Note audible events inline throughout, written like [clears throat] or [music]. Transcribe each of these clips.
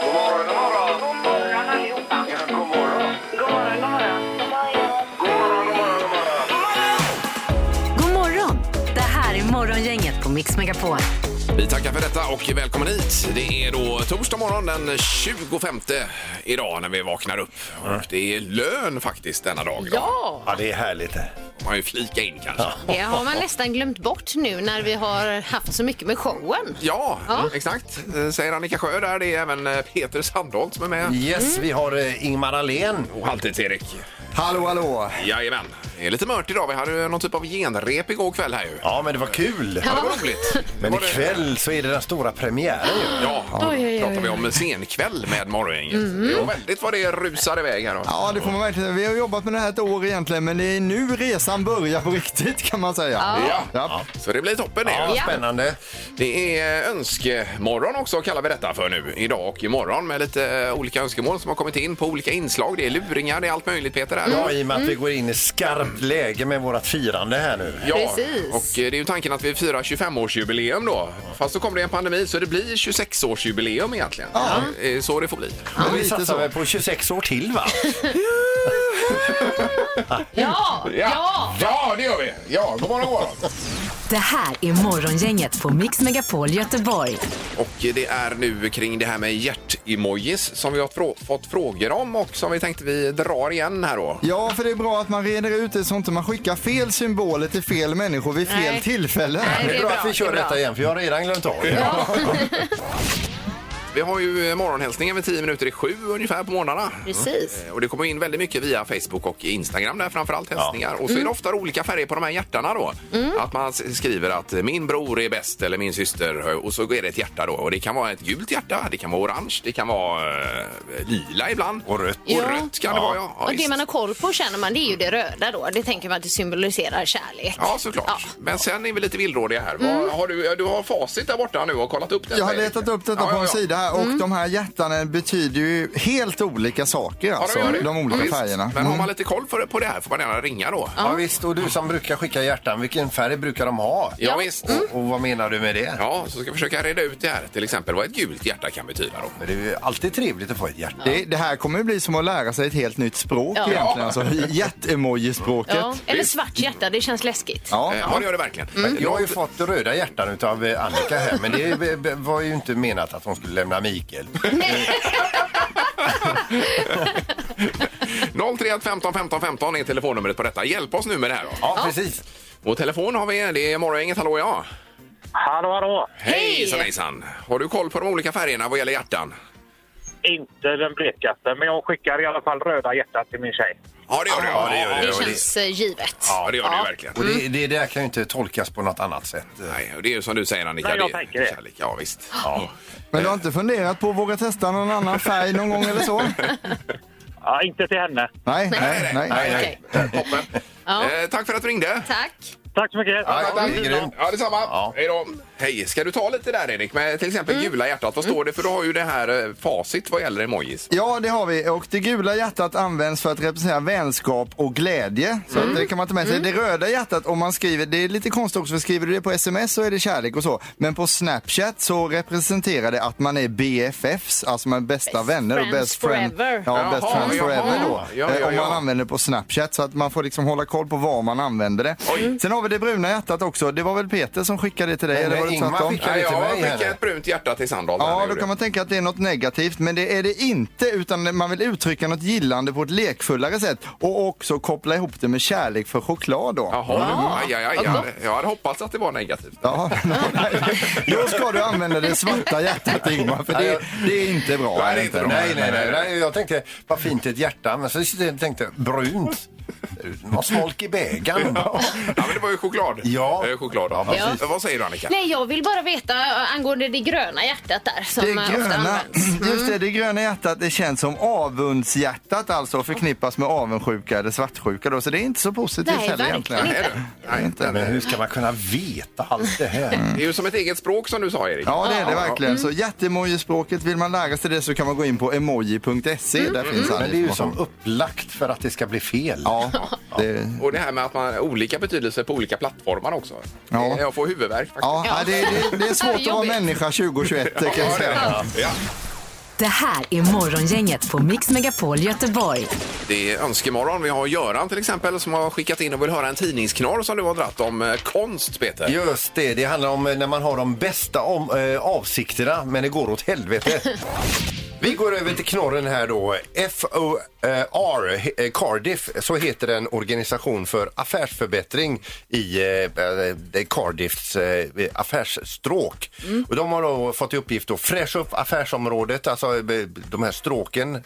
God morgon, god morgon. God morgon allihopa. Ja, god morgon. God morgon, god morgon. God morgon, god morgon, god morgon. God morgon! Det här är Morgongänget på Mix Megapol. Vi tackar för detta och välkommen hit. Det är då torsdag morgon den 25 idag när vi vaknar upp. Och det är lön faktiskt denna dag. Då. Ja, Mm. Ja, det är härligt. Får Man ju flika in kanske. Ja, det har man nästan glömt bort nu när vi har haft så mycket med showen. Ja. exakt. Eh, Säger Annika Sjö där. Det är även eh, Peter Sandholt som är med. Yes, Mm. vi har eh, Ingmar Ahlén. Och halvtids erik Hallå, hallå. Jajamän. Det är lite mört idag. Vi hade ju någon typ av genrep igår kväll här ju. Ja, men det var kul. Det var roligt. Men Var det- ikväll så är det den stora premiären ju. Ja, Oj, oj, Mm. oj. pratar vi om en senkväll med Morgongänget. Det var väldigt vad det rusar iväg här då. Ja, det får man verkligen. Vi har jobbat med det här ett år egentligen, men det är nu resan börjar på [laughs] riktigt kan man säga. Ja. Ja. Så det blir toppen det. Ja, ju. vad spännande. Det är eh, önskemorgon också kallar vi detta för nu. Idag och imorgon med lite eh, olika önskemål som har kommit in på olika inslag. Det är luringar, det är allt möjligt Peter. Här. Ja, i och med att vi går in i skarpt läge med vårt firande här nu. Ja, Precis. och eh, det är ju tanken att vi firar 25-årsjubileum då. Fast så kommer det en pandemi så det blir 26-årsjubileum egentligen. Eh, Så det får bli. Men vi lite satsar så. väl på 26 år till, va? Ja, ja. ja det gör vi! Ja, god morgon, god morgon. Det här är Morgongänget på Mix Megapol Göteborg. Och eh, det är nu kring det här med hjärtemojis som vi har frå- fått frågor om och som vi tänkte vi drar igen här då. Ja, för det är bra att man reder ut det så inte man skickar fel symboler till fel människor vid fel Nej. tillfälle. Nej, Det är bra att vi kör det är bra. detta igen, för jag har redan glömt av det. [laughs] Vi har ju eh, morgonhälsningen vid 10 minuter i sju ungefär på morgnarna. Eh, Precis. Och det kommer in väldigt mycket via Facebook och Instagram där framförallt hälsningar. Och så är det ofta olika färger på de här hjärtarna då. Att man s- skriver att eh, min bror är bäst eller min syster eh, och så är det ett hjärta då. Och det kan vara ett gult hjärta, det kan vara orange, det kan vara eh, lila ibland. Och rött. Och Ja. rött kan det vara ja. ja Och det visst. man har koll på känner man, det är ju det röda då. Det tänker man att det symboliserar kärlek. Ja, såklart. Ja. Men sen är vi lite villrådiga här. Vad, har du, du har facit där borta nu och kollat upp det. Mm. Jag har letat upp detta på en sida här Mm. och de här hjärtan betyder ju helt olika saker alltså, gör det. de olika Visst. färgerna. Mm. Men har man lite koll för, på det här får man gärna ringa då. Ja, visst. Och du som brukar skicka hjärtan, vilken färg brukar de ha? Ja, visst. Och, och vad menar du med det? Ja, så ska vi försöka reda ut det här. Till exempel vad ett gult hjärta kan betyda då. Men det är ju alltid trevligt att få [laughs] ett hjärta. Mm. Det, det här kommer ju bli som att lära sig ett helt nytt språk Ja. egentligen, alltså hjärtemoji-språket. Ja. Eller Visst. svart hjärta, det känns läskigt. Ja. Eh, Ja, det gör det verkligen. Mm. Jag har ju fått röda hjärtan utav eh, Annika här, men det be- be- var ju inte menat att hon skulle lämna Mikael. 031 15 15 15 är telefonnumret på detta. Hjälp oss nu med det här då. Ja, precis. Och telefon har vi, det är morgongänget, hallå ja. Hallå, hallå! Hej! Hejsan hejsan. Har du koll på de olika färgerna vad gäller hjärtan? Inte den blekaste, men jag skickar i alla fall röda hjärtan till min tjej. Ja, det gör du. Ja, det gör Det du. känns eh, givet. Ja, det gör du verkligen. Och Mm. det, det där kan ju inte tolkas på något annat sätt. eh. Nej, och det är ju som du säger Annika. Nej, jag är tänker det. kärlek. Ja, visst. Men du har inte funderat på att våga testa någon annan färg någon gång eller så? Ja, inte till henne. Nej, nej, Nej, nej. nej. Okej. Toppen. Ja. Eh, tack för att du ringde. Tack. Tack så mycket! Ja, det är grymt. Ja, detsamma. Ja. Hej då. Hej. Ska du ta lite där, Erik, med till exempel Mm. gula hjärtat? Vad står det? För du har ju det här eh, facit vad gäller emojis. Ja, det har vi. Och det gula hjärtat används för att representera vänskap och glädje. Så Mm. att det kan man ta med sig. Det röda hjärtat, om man skriver, det är lite konstigt också, för skriver du det på sms så är det kärlek och så. Men på Snapchat så representerar det att man är BFFs, alltså man är bästa Best vänner. och friends best friend, forever. Ja, Jaha, best friends jaha. forever då. Ja, ja, eh, Om ja. man använder det på Snapchat. Så att man får liksom hålla koll på var man använder det. Sen har vi det bruna hjärtat också. Det var väl Peter som skickade det till dig? Nej, eller nej, var det Ingmar tvärtom? skickade- Kan Nej, du till jag mig, skickar eller? ett brunt hjärta till Sandholt. här, Ja, gjorde då jag. kan man tänka att det är något negativt, men det är det inte utan man vill uttrycka något gillande på ett lekfullare sätt och också koppla ihop det med kärlek för choklad då. Jaha, aj, aj, aj. Jag hade- Jag hade hoppats att det var negativt. Ja, [laughs] nej. Då ska du använda det svarta [laughs] hjärtat Ingmar, för det, det är inte bra. Nej, det är är inte bra. Nej, nej, nej, nej. Jag tänkte, vad fint ett hjärta, men så tänkte jag, brunt. Någon smolk i bägaren. [laughs] Ja, men det var ju choklad. Ja. Eh, choklad. Ja, precis. Eh, Vad säger du, Annika? Nej, jag vill bara veta eh, angående det gröna hjärtat där som Det eh, ofta gröna, används. [clears throat] just det, det gröna hjärtat det känns som avundshjärtat alltså förknippas med avundsjuka eller svartsjuka då, så det är inte så positivt Nej, heller verkligen egentligen. inte. Nej, du. Nej, inte. Men hur ska man kunna veta allt det Mm. här? Det är ju som ett eget språk som du sa, Erik. Ja, Mm. det är det verkligen. Så hjärtemojispråket, vill man lära sig det så kan man gå in på emoji.se. Där finns all Men det är ju information. som upplagt för att det ska bli fel. [laughs] Ja, det, Och det här med att man har olika betydelser på olika plattformar också. Ja. Jag får huvudvärk faktiskt. ja, Ja. Det, det, det är svårt att vara Jobbigt. människa 2021 kan jag säga. Ja. Det här är Morgongänget på Mix Megapol Göteborg. Det är önskemorgon. Vi har Göran till exempel som har skickat in och vill höra en tidningsknorr som du har dratt om eh, konst, Peter. Just det, det handlar om eh, när man har de bästa om, eh, avsikterna men det går åt helvete. Vi går över till knorren här då. FOR, eh, Cardiff, så heter den organisation för affärsförbättring i eh, eh, det Cardiffs eh, affärsstråk. Och de har då fått i uppgift att fräscha upp affärsområdet, alltså eh, de här stråken, eh,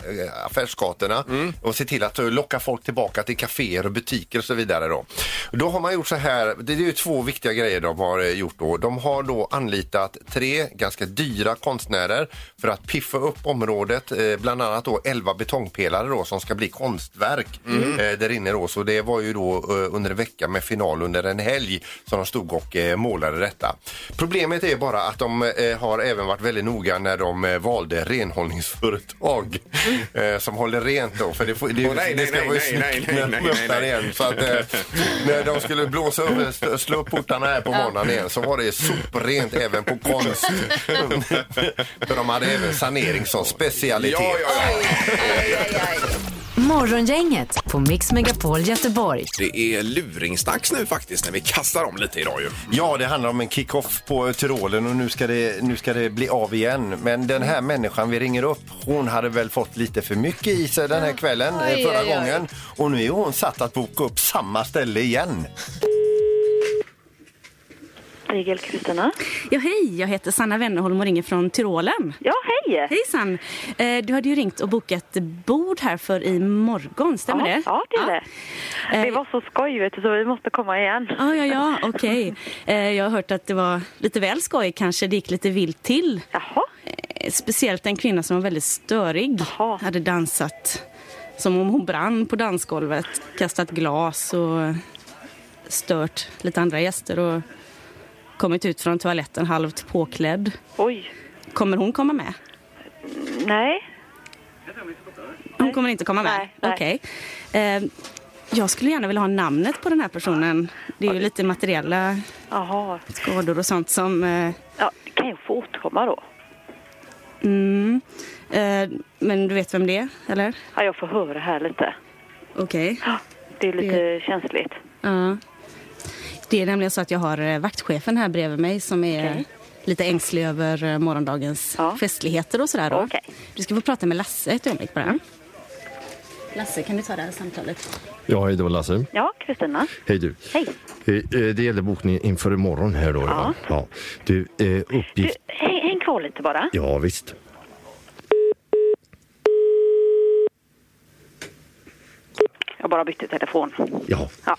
affärsgatorna och se till att eh, locka folk tillbaka till kaféer och butiker och så vidare. Då. då har man gjort så här, det är ju två viktiga grejer de har eh, gjort då. De har då anlitat tre ganska dyra konstnärer för att piffa upp området, eh, bland annat då 11 betongpelare då som ska bli konstverk Mm. eh, där inne då. Så det var ju då eh, under en vecka med final under en helg som de stod och eh, målade detta. Problemet är bara att de eh, har även varit väldigt noga när de eh, valde renhållningsföretag eh, som håller rent då. För det, får, det, Mm. Åh, nej, det ska nej, vara ju nej, snyggt nej, nej, när de nej, nej, öppnar nej. igen. Så att, eh, när de skulle blåsa upp, st- slå upp portarna här på morgonen igen så var det soprent även på konst. För de hade även sanering som specialitet. Ja, ja, ja. Morgongänget på Mix Megapol Göteborg. Det är luringsdags nu faktiskt när vi kastar om lite idag ju. Ja, det handlar om en kick-off på Tyrolen och nu ska, det, nu ska det bli av igen. Men den här människan vi ringer upp, hon hade väl fått lite för mycket i sig den här kvällen eh, Oj, förra oj, oj. gången. Och nu är hon satt att boka upp samma ställe igen. Igel Kristina. Ja, hej, jag heter Sanna Wennerholm och ringer från Tyrolen. Ja, hej! Hejsan! Eh, Du hade ju ringt och bokat bord här för imorgon, stämmer ja, det? Ja, det är det. Eh, Det var så skoj, vet du, så vi måste komma igen. Ja, ja, ja, [laughs] okej. Eh, Jag har hört att det var lite väl skoj kanske, det gick lite vilt till. Jaha, Eh, Speciellt en kvinna som var väldigt störig, Jaha. hade dansat som om hon brann på dansgolvet, kastat glas och stört lite andra gäster och kommit ut från toaletten halvt påklädd. oj. Kommer hon komma med? Nej, Hon kommer inte komma med? Nej, nej. Okej. Eh, jag skulle gärna vilja ha namnet på den här personen. Det är ju lite materiella jaha. skador och sånt som... Eh, Ja, kan jag få återkomma då? mm, eh, men du vet vem det är, eller? Ja, jag får höra här lite. Okej. Ja, Det är lite känsligt. Ja. Det är nämligen så att jag har eh, vaktchefen här bredvid mig som är Okej. lite ängslig över eh, morgondagens Ja. festligheter och sådär. då. Okej. Mm. Du ska få prata med Lasse ett ögonblick bara. Lasse, kan du ta det här samtalet? Ja, hej då Lasse. Ja, Kristina. Hej du. Hej. Eh, eh, Det gäller bokningen inför imorgon här då. Ja. ja. Du, eh, Du, uppgift... häng, häng kvar lite bara. Ja, visst. Jag bara bytte telefon. Ja. Ja,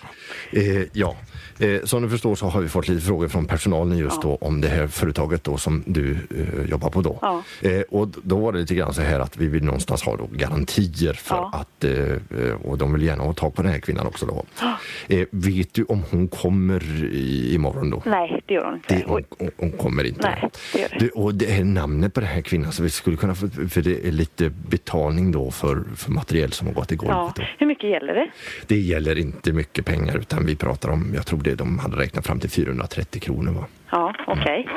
Eh, ja. Eh, som du förstår så har vi fått lite frågor från personalen just då om det här företaget då som du eh, jobbar på då. Ja. Eh, och d- då var det lite grann så här att vi vill någonstans ha då garantier för Ja. att eh, eh, och de vill gärna ha tag på den här kvinnan också då. Eh, vet du om hon kommer i, imorgon då? nej, det gör hon inte. Det, hon, Oj. hon, hon kommer inte. Nej, det gör det. Du, och det är namnet på den här kvinnan, så vi skulle kunna få, för det är lite betalning då för, för material som har gått i golvet. Ja, då. hur mycket gäller det? Det gäller inte mycket pengar, utan vi pratar om, jag tror det de hade räknat fram till 430 kronor va? Ja, Mm. okej.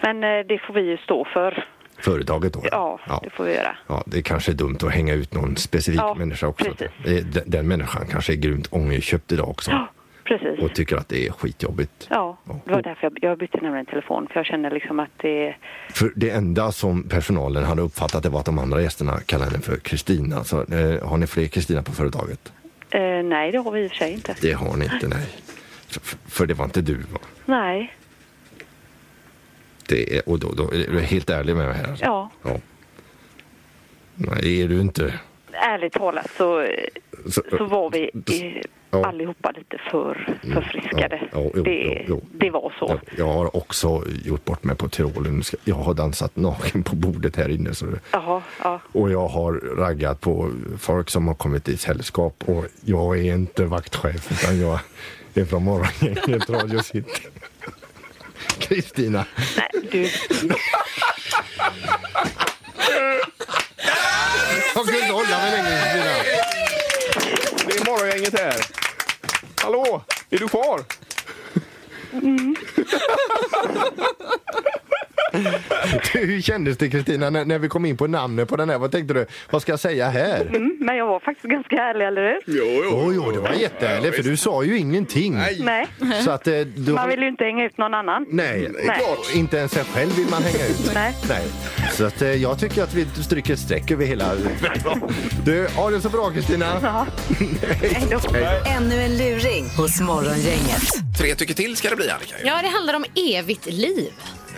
Men eh, det får vi ju stå för. Företaget då? Ja, det får vi göra. Ja, det kanske är dumt att hänga ut någon specifik Ja, människa också. precis. Det- Den, den människan kanske är grymt ångerköpt idag också Ja, precis. och tycker att det är skitjobbigt. Ja, det var därför jag, jag bytte nämligen telefon. För jag kände liksom att det... För det enda som personalen hade uppfattat det var att de andra gästerna kallade henne för Kristina. Så eh, har ni fler Kristina på företaget? Eh, nej, det har vi i och för sig inte. Det har ni inte, nej. För, för- för det var inte du va? Nej, Det är, och då, då är du helt ärlig med mig här? alltså? Ja. ja. Nej, det är du inte. ärligt talat så, eh, Så- så var vi eh, Ja. Mm. allihopa lite för förfriskade. Ja, ja, jo, det, jo, jo. det var så. Jag, jag har också gjort bort mig på Tyrolen. Ska- Jag har dansat naken på bordet här inne. Så det, Jaha, ja. och jag har raggat på folk som har kommit i sällskap och jag är inte vaktchef utan jag är från morgongänget Radio City. [laughs] Kristina. Nej, du, [laughs] Jag kunde inte hålla mig längre Kristina. Det är morgongänget här. Hallå, är du kvar? [laughs] Mm. Hur kändes det Kristina när, när vi kom in på namnet på den här? Vad tänkte du? Vad ska jag säga här? Mm, men jag var faktiskt ganska ärlig, eller hur? Jo, jo. Jo, jo, det var jättehärligt för du sa ju ingenting. Nej. Så att, eh, du... Man vill ju inte hänga ut någon annan. Mm, Nej, Nej. Och inte ens sig själv vill man hänga ut. Nej. Nej. Så att, eh, jag tycker att vi stryker ett streck [laughs] över hela... Du, ha det så bra Kristina! [laughs] Ja. Hej då. Ännu en luring hos Morgongänget. Tre tycker till ska det bli Annika. ju. Ja, det handlar om evigt liv.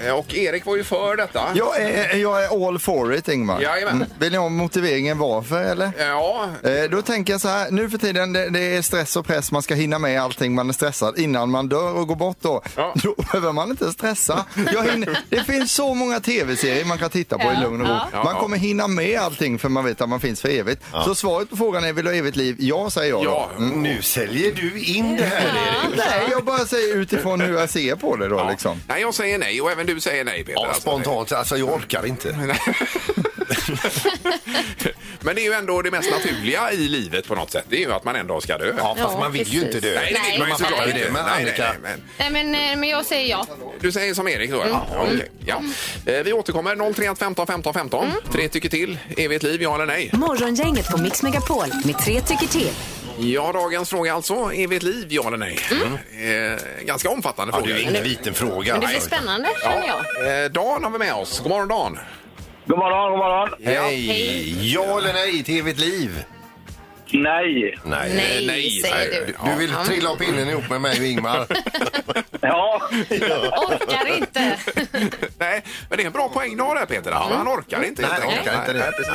Eh, Och Erik var ju för detta. Jag är, jag är all for it, Ingmar. Jajamän. Mm. Vill ni ha motiveringen varför, eller? Ja, Eh, Då tänker jag så här, nu för tiden det, det är stress och press, man ska hinna med allting man är stressad innan man dör och går bort då. Ja. [laughs] Då behöver man inte stressa. Jag hinner, det finns så många tv-serier man kan titta på i lugn och ro. Ja. Man kommer hinna med allting för man vet att man finns för evigt. Så svaret på frågan är, vill du ha evigt liv? Ja, säger jag Ja. då. Mm. Nu säljer du in det här Erik. Nej, jag bara säger utifrån hur jag ser på det då Ja. liksom. Nej, jag säger nej och även du säger nej Peter. Ja, Alltså, spontant, alltså jag orkar [laughs] inte. nej. Men det är ju ändå det mest naturliga i livet på något sätt. Det är ju att man en dag ska dö. Ja, fast Ja, man vill ju precis. inte dö. Nej, det vill Nej, man ju man såklart fattar ju inte. det. Men Nej, nej, Annika- nej, men Nej, men, eh, men jag säger ja. Du säger som Erik Mm. då? Ja, okej. ja. Eh, Vi återkommer 031 15 15 15. Mm. Tre tycker till. Evigt liv, ja eller nej? Morgongänget på Mix Megapol med tre tycker till. Ja, dagens fråga alltså. Evigt liv, ja eller nej? Eh, ganska omfattande Mm. Ja, det fråga. är ju ingen liten fråga. Men det blir spännande, känner jag. Eh, Dan har vi med oss. God morgon Dan. God morgon, god morgon. Hej! Ja eller nej till evigt liv? Nej. Nej. Nej, säger du. Du vill trilla upp pinnen ihop med mig och Ingmar. [laughs] Ja. Orkar inte. [laughs] Nej, men det är en bra poäng du har där Peter. Han, han orkar inte Nej, helt han enkelt. orkar inte det. Nej, precis.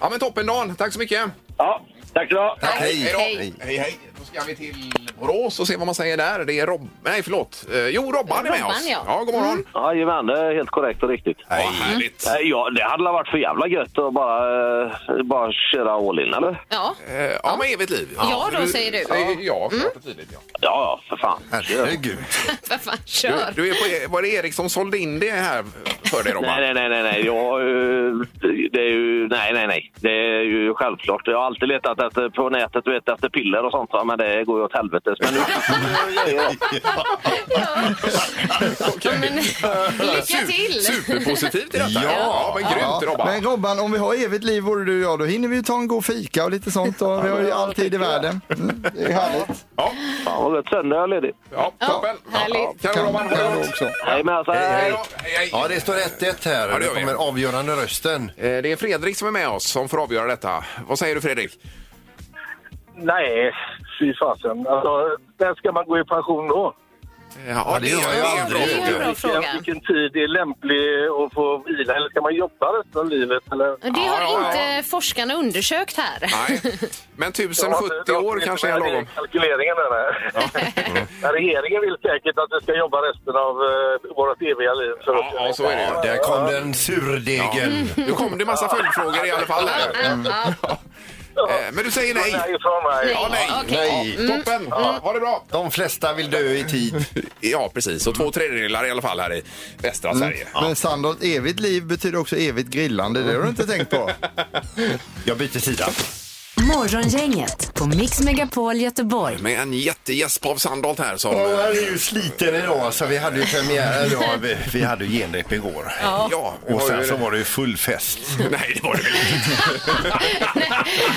Ja, men toppen Dan. Tack så mycket. ja. Tack så du Tack, hej. Hej då. Hej. Hej, hej. Då ska vi till Borås och se vad man säger där. Det är Rob... Nej, förlåt. Eh, jo, Robban är med Robban, oss. ja. god morgon. Mm. Jajamän, det är helt korrekt och riktigt. Vad härligt. Eh, Ja, det hade varit för jävla gött att bara, eh, bara köra all in, eller? Ja. Eh, Ja, men evigt liv. Ja, då säger du. Mm. Ja, ja klart och tydligt. Ja. Ja, ja, för fan. Herregud. För fan, kör. Du, du är på, var det Erik som sålde in det här för dig, Robban? Nej, nej, nej, nej, nej. Jag, eh, det är ju, nej, nej, nej. Det är ju självklart. Jag har alltid letat efter, på nätet du vet, efter piller och sånt, va, men det går ju åt helvetes. Men nu... Men, lycka till! Superpositivt i detta. Ja. men grymt, Robban. Men Robban, om vi har evigt liv vore du och jag, då hinner vi ju ta en god fika och lite sånt. Och vi har ju all tid i världen. Mm, det är härligt. Ja, Fan vad gött. Söndag är jag ledig. ja, toppen. härligt. Kan Robban ha det Kan du gott. också. Hej med alltså, Hej hej. då. Hej, hej. Ja, det står 1-1 Ja, här. det Det gör vi. kommer avgörande rösten. Eh, Det är Fredrik som är med oss som får avgöra detta. Vad säger du, Fredrik? Nej, fy fasen. Alltså, när ska man gå i pension då? Ja, det gör jag det är en aldrig. bra Det är en fråga. bra fråga. tid är lämplig att få vila? Eller ska man jobba resten av livet? Eller? Det Ja, ja, har inte forskarna undersökt här. Nej, men 1070 år kanske är lagom. Kalkyleringen där. [laughs] Regeringen vill säkert att vi ska jobba resten av eh, vårt eviga liv. Ja, ja, så är det ju. Där kom den surdegen. Nu kom det massa följdfrågor i alla fall. Här. Eh, Men du säger nej. ifrån mig. Ja, nej. Nej. Mm. Ja, Toppen. Ha det bra. De flesta vill dö i tid. Ja, precis. Och två tredjedelar i alla fall här i västra Mm. Sverige. Men Sandholt, evigt liv betyder också evigt grillande. Det har du inte tänkt på. Jag byter sida. Morgongänget på Mix Megapol Göteborg. Med en jättegäsp av Sandholt här som... Ja, han är ju sliten idag. Så vi hade ju [laughs] premiär, eller ja, vi, vi hade ju genrep igår. Ja, Och var sen ju- så var det ju full fest. [laughs] Nej, det var det väl inte. [laughs]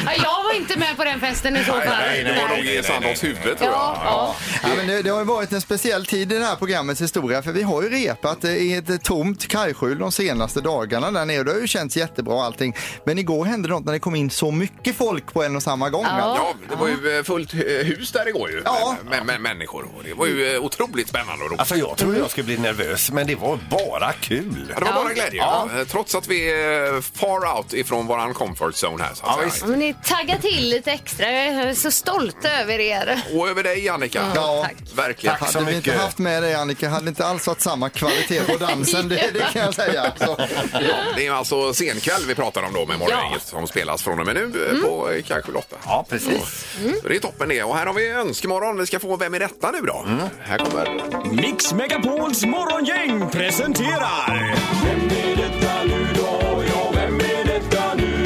Ja, Jag var inte med på den festen i så fall. Nej, det var nog i Sandholts huvud tror jag. Ja, Ja, men det, det har ju varit en speciell tid i det här programmets historia för vi har ju repat eh, i ett tomt kajskjul de senaste dagarna där nere och det har ju känts jättebra allting. Men igår hände något när det kom in så mycket folk på en och samma gång. alltså. Ja, det var ju eh, fullt eh, hus där igår ju. Ja. Med, med, med människor. Och det var ju eh, otroligt spännande och [laughs] roligt. Alltså jag trodde jag skulle bli nervös, men det var bara kul. Mm. Ja, det var bara glädje. Eh, Trots att vi är eh, far out ifrån våran comfort zone här. Så att Ja, säga. visst. Men ni taggar till lite extra. Jag är så stolt över er. Och över dig Annika. Ja. Verkligen. Tack. så Hade vi inte mycket. haft med dig Annika hade det inte alls varit samma kvalitet på dansen, det, det kan jag säga. Alltså. Ja, det är alltså senkväll vi pratar om då med morgongänget som spelas från och med nu eh, Mm. på eh, kanske Lotta. Ja, precis. Så Det är toppen det. Och här har vi önskemål. Vi ska få Vem är detta nu då? Mm. Här kommer... Mix Megapols morgongäng presenterar... Vem är detta nu då? Ja, vem är detta nu?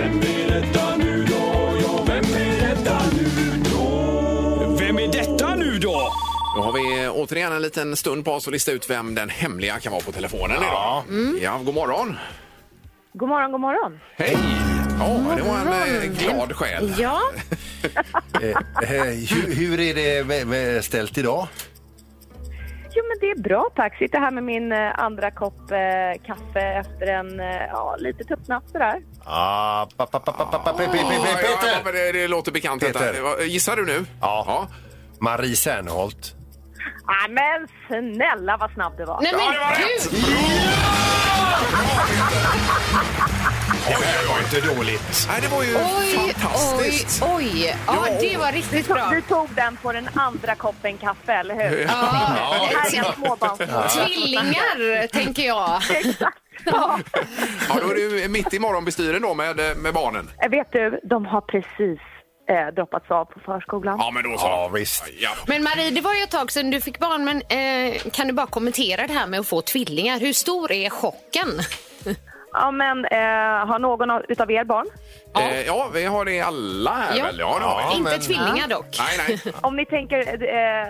Vem är detta nu då? Ja, vem är detta nu då? Vem är detta nu då? Då har vi eh, återigen en liten stund på oss att lista ut vem den hemliga kan vara på telefonen ja. idag. Mm. Ja, god morgon. God morgon, god morgon. Hej! Ja, det var en eh, glad själ. Ja, Eh, eh, hur, hur är det med- med ställt idag? jo men det är bra tack. Sitter här med min eh, andra kopp eh, kaffe efter en, eh, ja, lite tuppnapp sådär. Ah, pa, pa, pa, pa, pa, pa, pe, pe, pe, Ja, pe, ja, Peter! ja, men det, det låter bekant. Peter. Detta. Gissar du nu? Ja. Marie Serneholt. Nej Ah, men snälla vad snabb du var. Nej, men Ja, det var rätt! Det här var inte dåligt. Nej, det var ju Oj, oj, oj. Ja, det var riktigt du, bra. Du tog den på den andra koppen kaffe, eller hur? Ja. Ja, Det här är en exakt. småbarnsmor. Tvillingar, tänker jag. Ja, då är du mitt i morgonbestyren då med, med barnen. Eh, Vet du, de har precis eh, droppats av på förskolan. Ja, men då så. Ja, visst. Ja. Men Marie, det var ju ett tag sedan du fick barn, men eh, kan du bara kommentera det här med att få tvillingar? Hur stor är chocken? [laughs] Ja, men eh, har någon av- utav er barn? Eh, ja, vi har det alla här Ja. väl? Ja, det har vi. Inte tvillingar dock. Nej, nej. [laughs] Om ni tänker eh,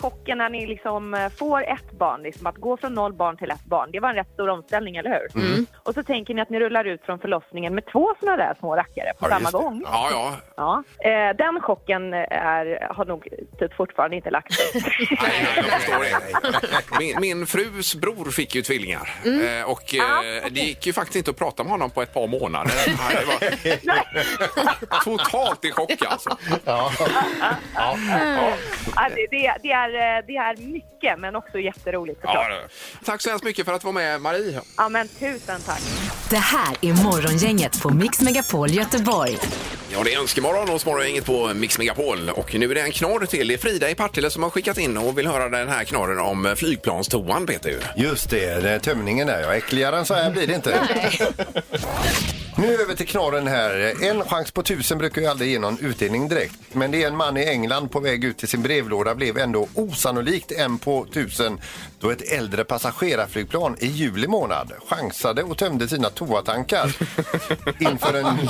chocken när ni liksom eh, får ett barn, liksom, att gå från noll barn till ett barn, det var en rätt stor omställning, eller hur? Mm. Och så tänker ni att ni rullar ut från förlossningen med två såna där små rackare på Ja, samma just det. gång. Ja, ja. Ja. Eh, den chocken är, har nog typ fortfarande inte lagt [laughs] sig. Nej, nej, jag förstår det. Min, min frus bror fick ju tvillingar. Eh, och eh, det gick ju faktiskt inte att prata med honom på ett par [laughs] månader. Nej, det var totalt i chock alltså. Ja. Ja. ja, det, det, det, är, eh, det är mycket, men också jätteroligt såklart. Ja, det- Tack så hemskt mycket för att du var med, Marie. Ja, men tusen tack. Det här är Morgongänget på Mix Megapol Göteborg. Ja, det är önskemål hos Morgongänget på Mix Megapol. Och nu är det en knorr till. Det är Frida i Partille som har skickat in och vill höra den här knorren om eh, flygplanstoan, Peter. ju. Just det, det är tömningen där ja. Äckligare än så här blir det inte. Nu över till knorren här. En chans på tusen brukar ju aldrig ge någon utdelning direkt. Men det är en man i England på väg ut till sin brevlåda blev ändå osannolikt en på tusen då ett äldre passagerarflygplan i juli månad chansade och tömde sina toatankar inför en,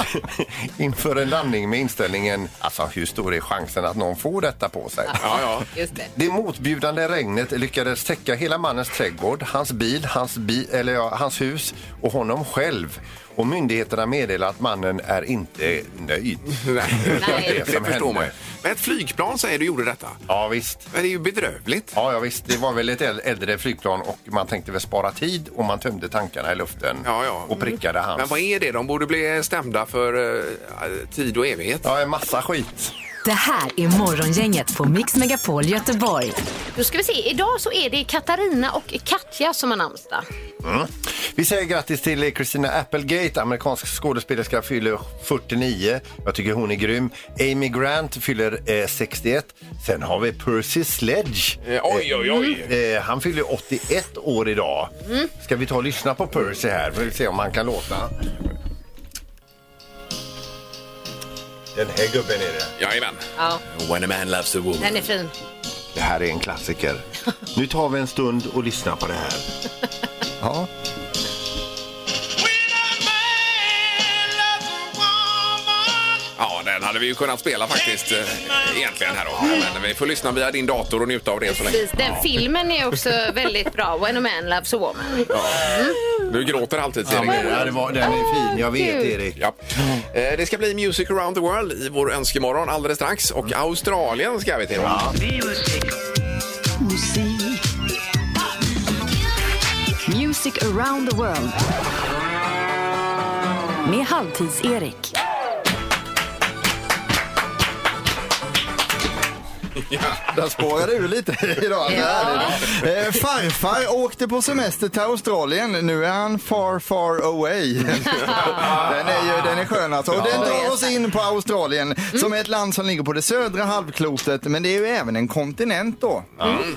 inför en landning med inställningen alltså hur stor är chansen att någon får detta på sig? Ja, ja. Just det. Det motbjudande regnet lyckades täcka hela mannens trädgård, hans bil, hans, bi eller ja, hans hus och honom själv. Och myndigheterna meddelar att mannen är inte nöjd. Nej, är det, [laughs] det som förstår händer. man ju. Men ett flygplan säger du gjorde detta. Ja visst. Men det är ju bedrövligt. Ja, ja visst. Det var väl ett äl- äldre flygplan och man tänkte väl spara tid och man tömde tankarna i luften Ja, ja. och prickade hans. Men vad är det? De borde bli stämda för eh, tid och evighet. Ja, en massa skit. Det här är Morgongänget på Mix Megapol Göteborg. Då ska vi se. Idag så är det Katarina och Katja som har namnsdag. Mm. Vi säger grattis till Christina Applegate, amerikansk skådespelerska, fyller 49. Jag tycker hon är grym. Amy Grant fyller eh, 61. Sen har vi Percy Sledge. Eh, oj, oj, oj. Eh, han fyller 81 år idag. Ska vi ta och lyssna på Percy här? Vi se om han kan låta. Den här gubben är det. Jajamän. Ja, When a man loves a woman. den är fin. Det här är en klassiker. Nu tar vi en stund och lyssnar på det här. Ja. Ja, den hade vi ju kunnat spela faktiskt eh, egentligen här då. Men eh, vi får lyssna via din dator och njuta av det så länge. Precis. Den filmen är också väldigt bra. When a man loves a woman. Du gråter alltid, Ja, Erik. men, ja, det var, den är fin, jag vet Gud. Erik. Ja. Eh, Det ska bli Music around the world i vår önskemorgon alldeles strax. Och Australien ska vi till. Ja. Music around the world. Med Halvtids-Erik. Där spårade ur lite idag. Eh, farfar åkte på semester till Australien. Nu är han far, far away. [laughs] den, är ju, den är skön alltså. Och den tar oss in på Australien Mm. som är ett land som ligger på det södra halvklotet. Men det är ju även en kontinent då.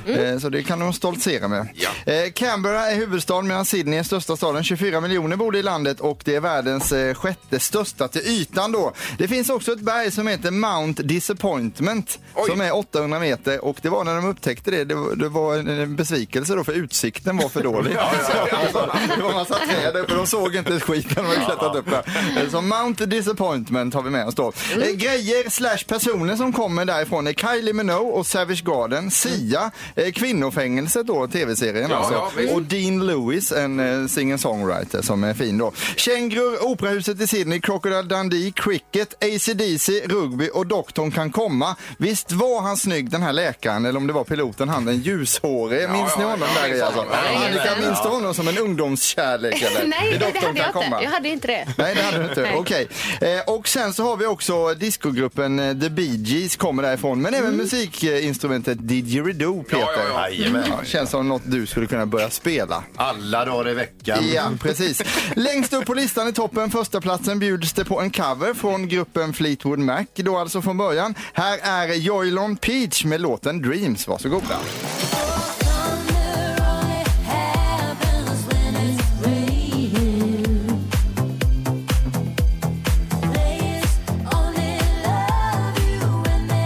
Eh, så det kan de stoltsera med. Mm. Ja. Eh, Canberra är huvudstaden medan Sydney är största staden. 24 miljoner bor det i landet och det är världens eh, sjätte största till ytan då. Det finns också ett berg som heter Mount Disappointment Oj. som är 800 meter och det var när de upptäckte det, det var, det var en, en besvikelse då för utsikten var [laughs] för dålig. Alltså, det var massa träd där uppe, de såg inte ett skit när de hade klättrat upp där. Så Mount Disappointment har vi med oss då. Mm. Eh, Grejer slash personer som kommer därifrån är Kylie Minogue och Savage Mm. Garden, Sia, eh, Kvinnofängelset då, tv-serien Ja, alltså. ja, visst. och Dean Lewis, en eh, singer-songwriter som är fin då. Kängurur, Operahuset i Sydney, Crocodile Dundee, Cricket, AC/DC, Rugby och Doktorn kan komma. Visst var han snygg den här läkaren, eller om det var piloten, han den ljushårige. Minns ni honom där i alltså? Annika, minns du honom som en ungdomskärlek eller? Nej, I det Doktorn hade jag kan inte. komma. Jag hade inte det. Nej, det hade du inte. Nej. Okej. Eh, och sen så har vi också discogruppen eh, The Bee Gees kommer därifrån. Men även musikinstrumentet didgeridoo, Peter. ja, ja. Jajamän. känns som något du skulle kunna börja spela. Alla dagar i veckan. Ja, precis. Längst upp på listan i toppen, första platsen bjuds det på en cover från gruppen Fleetwood Mac, då alltså från början. Här är Joylon Peach med låten Dreams. Varsågoda. Mm. Ja,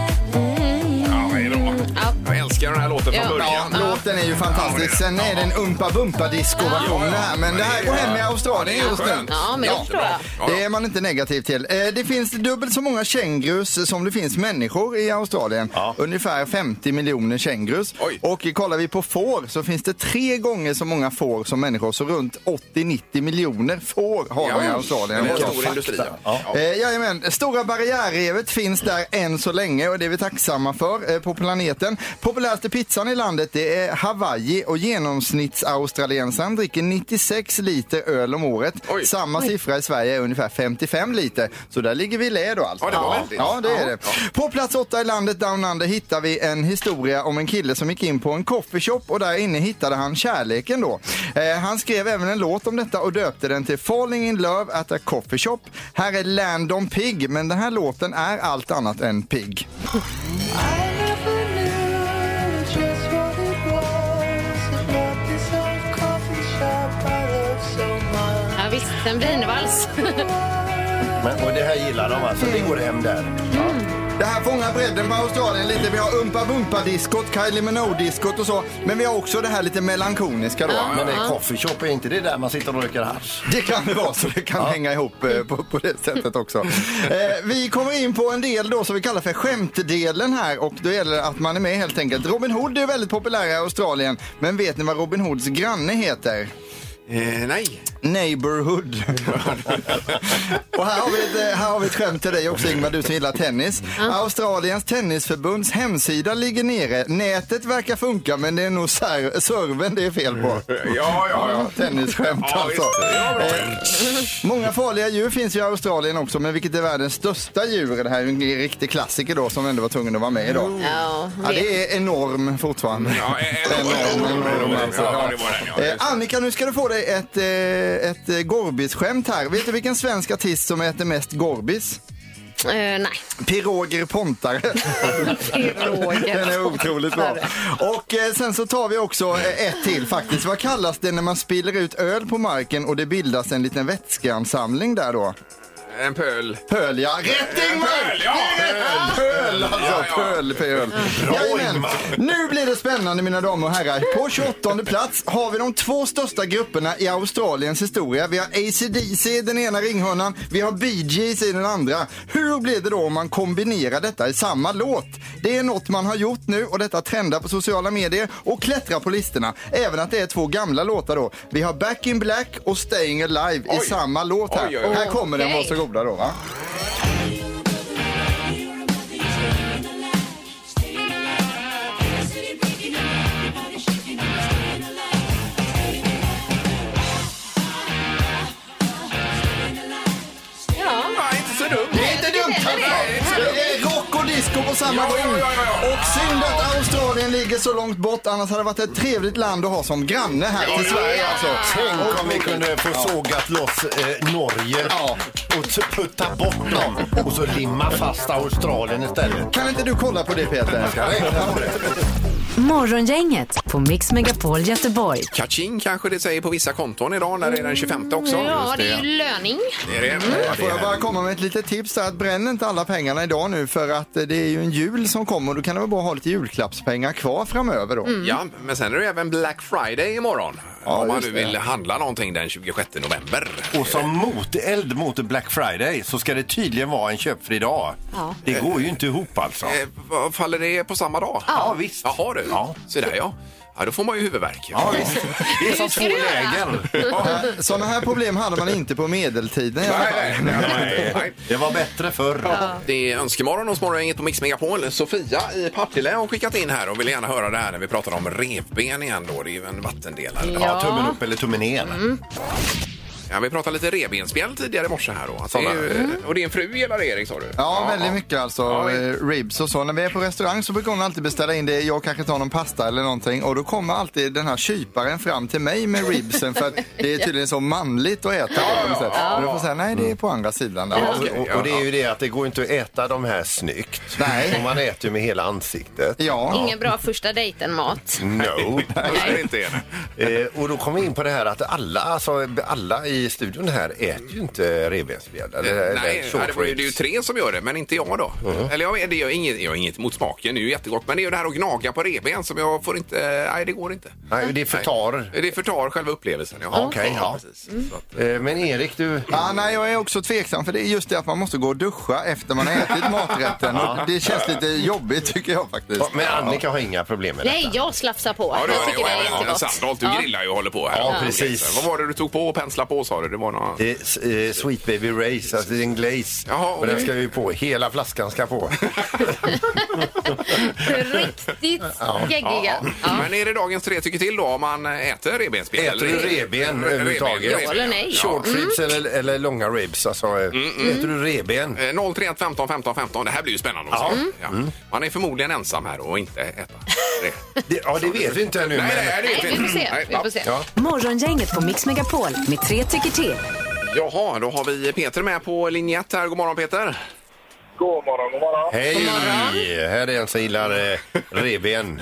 det är bra. Jag älskar den här låten från början. låten är ju fantastisk. Sen är det en Umpa Bumpa disco-version det här, men det här går hem i Australien just nu. Ja, men det förstår jag. Det är man inte negativ till. Eh, Det finns dubbelt så många kängurus som det finns människor i Australien. Ungefär 50 miljoner kängurus. Och kollar vi på får så finns det tre gånger så många får som människor. Så runt 80-90 miljoner får har Ja, de i Australien. men det är en Vilken stor industri, fakta. ja. Ja. Eh, jajamän, Stora barriärrevet finns där än så länge och det är vi tacksamma för eh, på planeten. Populäraste pizzan i landet det är Hawaii och genomsnittsaustraliensaren dricker 96 liter öl om året. Samma siffra i Sverige är ungefär 55 liter. Så där ligger vi i lä då alltså. Ja, det var väldigt. Ja, det är det. På plats åtta i landet Down Under hittar vi en historia om en kille som gick in på en coffeeshop och där inne hittade han kärleken då. Eh, han skrev även en låt om detta och döpte den till Falling in Love at a Coffee Shop. Här är Landon Pig, men den här låten är allt annat än pigg. Ja, visst, en wienervals. Men, och det här gillar de alltså. Det går hem där. Det här fångar bredden på Australien lite. Vi har Umpa Bumpa-diskot, Kylie Minogue-diskot och så. Men vi har också det här lite melankoniska då. Men det är coffee shop, är inte det där man sitter och röker hasch? Det kan det vara, så det kan hänga ihop eh, på, på det sättet också. Eh, vi kommer in på en del då som vi kallar för skämtdelen här och då gäller det att man är med helt enkelt. Robin Hood är väldigt populär i Australien, men vet ni vad Robin Hoods granne heter? Eh, nej. [laughs] Neighborhood. och här har, vi ett, eh, här har vi ett skämt till dig också Ingmar, du som gillar tennis. Australiens tennisförbunds hemsida ligger nere. Nätet verkar funka men det är nog ser- servern det är fel på. Ja, ja, ja. Tennisskämt Ja, alltså. visst. Ja, bra. Många farliga djur finns ju i Australien också, men vilket är världens största djur? Det här är en riktig klassiker då som ändå var tvungen att vara med idag. Ja, Ja, det är enorm fortfarande. Ja, en- en- en- en- en- ja, det var den, ja. Eh, Annika, nu ska du få dig ett, eh, ett eh, Gorbis-skämt här. Vet du vilken svensk artist som äter mest Gorbis? [laughs] Eh, nej. Piroger Pontare. Piroger Den är otroligt bra. Och eh, sen så tar vi också eh, ett till faktiskt. Vad kallas det när man spiller ut öl på marken och det bildas en liten vätskeansamling där då? En pöl. Pöl, ja. Rätt Ingmar! Ja, Pöl, alltså. Pöl, pöl. Jajamän. Nu blir det spännande mina damer och herrar. På 28 plats har vi de två största grupperna i Australiens historia. Vi har ACDC i den ena ringhörnan, vi har Bee Gees i den andra. Hur blir det då om man kombinerar detta i samma låt? Det är något man har gjort nu och detta trendar på sociala medier och klättrar på listorna. Även att det är två gamla låtar då. Vi har Back in Black och Staying Alive i samma låt här. Oj, oj, oj. Här kommer den, Okej. varsågoda då va. Ja. inte så dumt. Det är inte dumt! Hasse. Det är rock och disco på samma gång. Och synd att Australien ligger så långt bort, annars hade det varit ett trevligt land att ha som granne här till Sverige alltså. Tänk om vi kunde få Ja. sågat loss eh, Norge och t- putta bort dem och så limma fast Australien istället. Kan inte du kolla på det Peter? Jag ska räkna på det. Morgongänget på Mix Megapol Göteborg. Kaching kanske det säger på vissa konton idag när det är den 25 också. Mm, Ja, det är ju löning. Det är det. Ja, det Får jag är bara komma med ett litet tips där, att bränn inte alla pengarna idag nu för att eh, det är ju en jul som kommer och då kan det vara bra att ha lite julklappspengar kvar framöver då. Mm. Mm. Ja, men sen är det ju även Black Friday imorgon. om man nu vill handla någonting den 26 november. Och som moteld mot Black Friday så ska det tydligen vara en köpfri dag. Ja. Det går ju inte ihop alltså. Eh, vad- faller det på samma dag? Ja, visst. Jaha du, så där ja. Ja, då får man ju huvudvärk. Ja, visst. Det är som två lägen. Ja. Sådana här problem hade man inte på medeltiden i alla fall. Nej. Det var bättre förr. Det är Önskemorgon hos Morgongänget på Mix Megapol. Sofia i Partille har skickat in här och vill gärna höra det här när vi pratar om revben igen då. Det är ju en vattendelare. Ja, tummen upp eller tummen ner. Mm. Ja, vi pratade lite revbensspjäll tidigare i morse här då. Att det är ju, Mm. Och din fru gillar Erik sa du? Eh, Ja, väldigt mycket alltså. eh, Ribs och så. När vi är på restaurang så brukar hon alltid beställa in det. Jag kanske tar någon pasta eller någonting och då kommer alltid den här kyparen fram till mig med ribsen för att det är tydligen så manligt att äta. Ja, ja, ja. Och då får jag säga, nej det är på andra sidan. där." Ja, Och- och, och det är ju det att det går inte att äta de här snyggt. Nej. Och man äter ju med hela ansiktet. Ingen bra första dejten-mat. No. Nej. inte är eh, och då kom vi in på det här att alla, alltså, alla i studion här äter ju inte revbensspjäll. eller- eller Nej, short det, var ju, det är ju ribs. Mm. tre som gör det, men inte jag då. Eller jag, det gör inget, jag har inget mot smaken, det är ju jättegott. Men det är ju det här att gnaga på revben som jag får inte... eh, Nej, det går inte. Nej, det förtar. Nej. Det förtar själva upplevelsen. Ja, okej, ja. Eh, Men Erik, du... Ja, nej, jag är också tveksam för det är just det att man måste gå och duscha efter man har ätit maträtten. Och Ja. det känns lite jobbigt tycker jag faktiskt. Men Annika har inga problem med det. Nej, jag slafsar på. Ja, du jag gör det. tycker Och det är även Anna jättegott. Sandholt, du Ja. grillar ju och håller på här. Ja, precis. Vad var det du tog på och pensla på sa du? Det var någon... Det är s- eh, Sweet Baby Race, alltså det är en glaze. Jaha, Och den okej. ska ju på, hela flaskan ska [laughs] på. Riktigt Ja. geggiga. Men är det dagens tre tycker till då om man äter revbensspjäll? Äter du Eller- revben Re- överhuvudtaget? revben, revben, ja. Short ribs eller, eller långa ribs, alltså. Äter du revben? Mm, Eh, 031 15 15 15. Det här blir ju spännande. också. Ja. Mm. Ja. Man är förmodligen ensam här och inte äta det. Det, ja, det vet vi inte ännu. Nej, men- nej, det vet Nej, vi får se. Nej, Vi får se. ja. Morgongänget på Mix Megapol med tre tycker till. Jaha, då har vi Peter med på linje 1 här. God morgon Peter! God morgon, god morgon. Hej! Här är en som gillar eh, revben.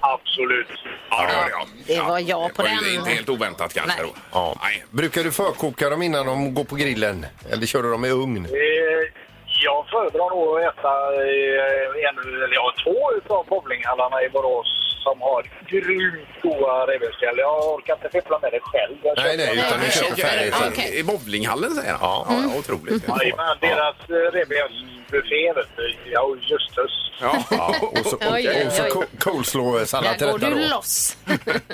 Absolut. Ja, det gör det, ja. Det var jag på Det var ju den. Inte helt oväntat kanske. Nej. Då. Ja. Nej. Brukar du förkoka dem innan de går på grillen? Eller kör du dem i ugn? Eh, Jag föredrar nog att äta eh, en, eller ja, två utav bowlinghallarna i Borås som har grymt goda revbensspjäll. Jag orkar inte fippla med det själv. Jag Nej, köper- nej, utan du köper färdigt. Ja, okej. I bowlinghallen säger han? Ja. Mm. Ja, otroligt. Jajamän, deras eh, revbensbuffé, vet du. Ja, jösses. Ja. Ja, [laughs] och så, Oj, oj, och, och så oj. co- coleslaw-sallad till Där går detta du då. loss. [laughs]